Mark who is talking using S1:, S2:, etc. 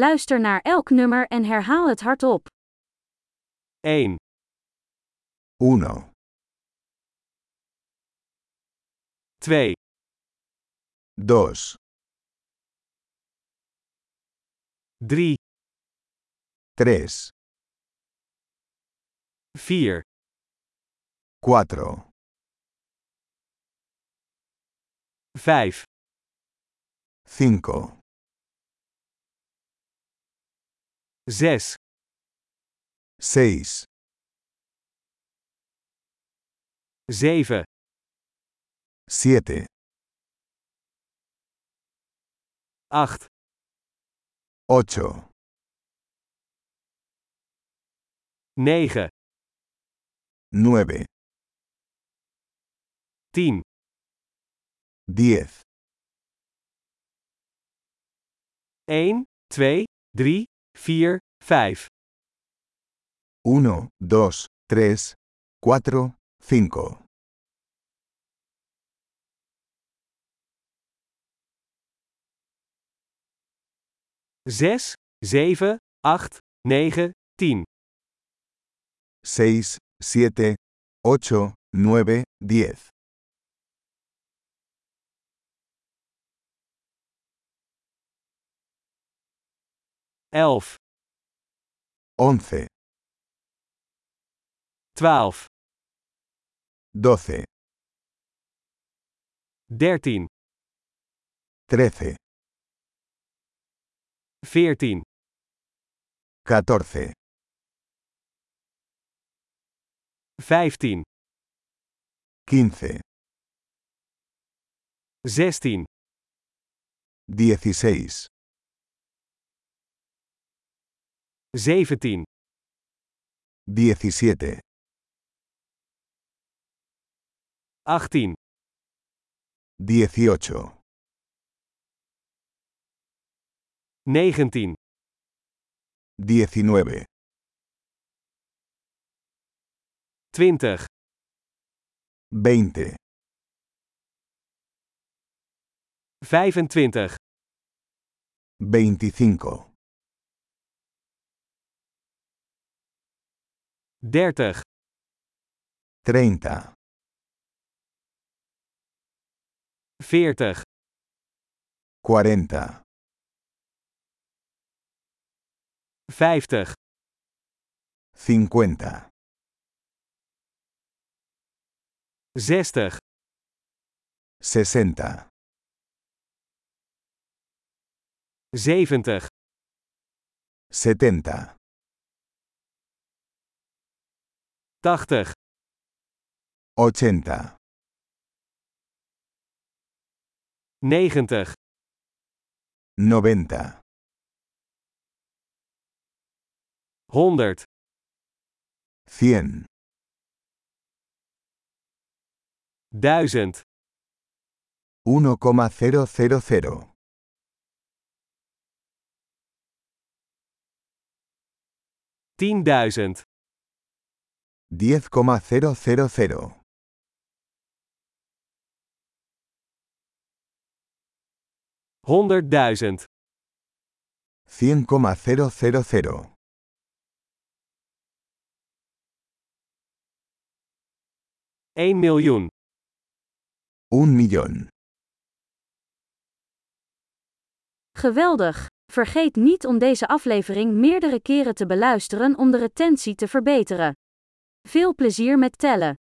S1: Luister naar elk nummer en herhaal het hardop.
S2: 1,
S3: 1,
S2: 2,
S3: 2,
S2: 3,
S3: 3,
S2: 4,
S3: 4,
S2: 5,
S3: 5,
S2: 6,
S3: 6,
S2: 7,
S3: 7,
S2: 8,
S3: 8,
S2: 9,
S3: 9,
S2: 10,
S3: 10,
S2: 1, 2, 3, 4, 5,
S3: 1, 2, 3, 4, 5,
S2: 6, 7, 8, 9, 10,
S3: 6, 7, 8, 9, 10,
S2: 11,
S3: 11,
S2: 12,
S3: 12,
S2: 13,
S3: 13,
S2: 14,
S3: 14,
S2: 15,
S3: 15,
S2: 16,
S3: 16,
S2: 17,
S3: 17,
S2: 18,
S3: 18,
S2: 19,
S3: 19,
S2: 20,
S3: 20,
S2: 25,
S3: 25,
S2: 30,
S3: 30,
S2: 40,
S3: 40,
S2: 50,
S3: 50,
S2: 60,
S3: 60,
S2: 70,
S3: 70,
S2: 80,
S3: 80,
S2: 90,
S3: 90,
S2: 100,
S3: 100,
S2: 1000,
S3: 1,000,
S2: 10.000,
S3: 10,000,
S2: 100.000,
S3: 100,000,
S2: 1 miljoen,
S3: 1 millón.
S1: Geweldig! Vergeet niet om deze aflevering meerdere keren te beluisteren om de retentie te verbeteren. Veel plezier met tellen!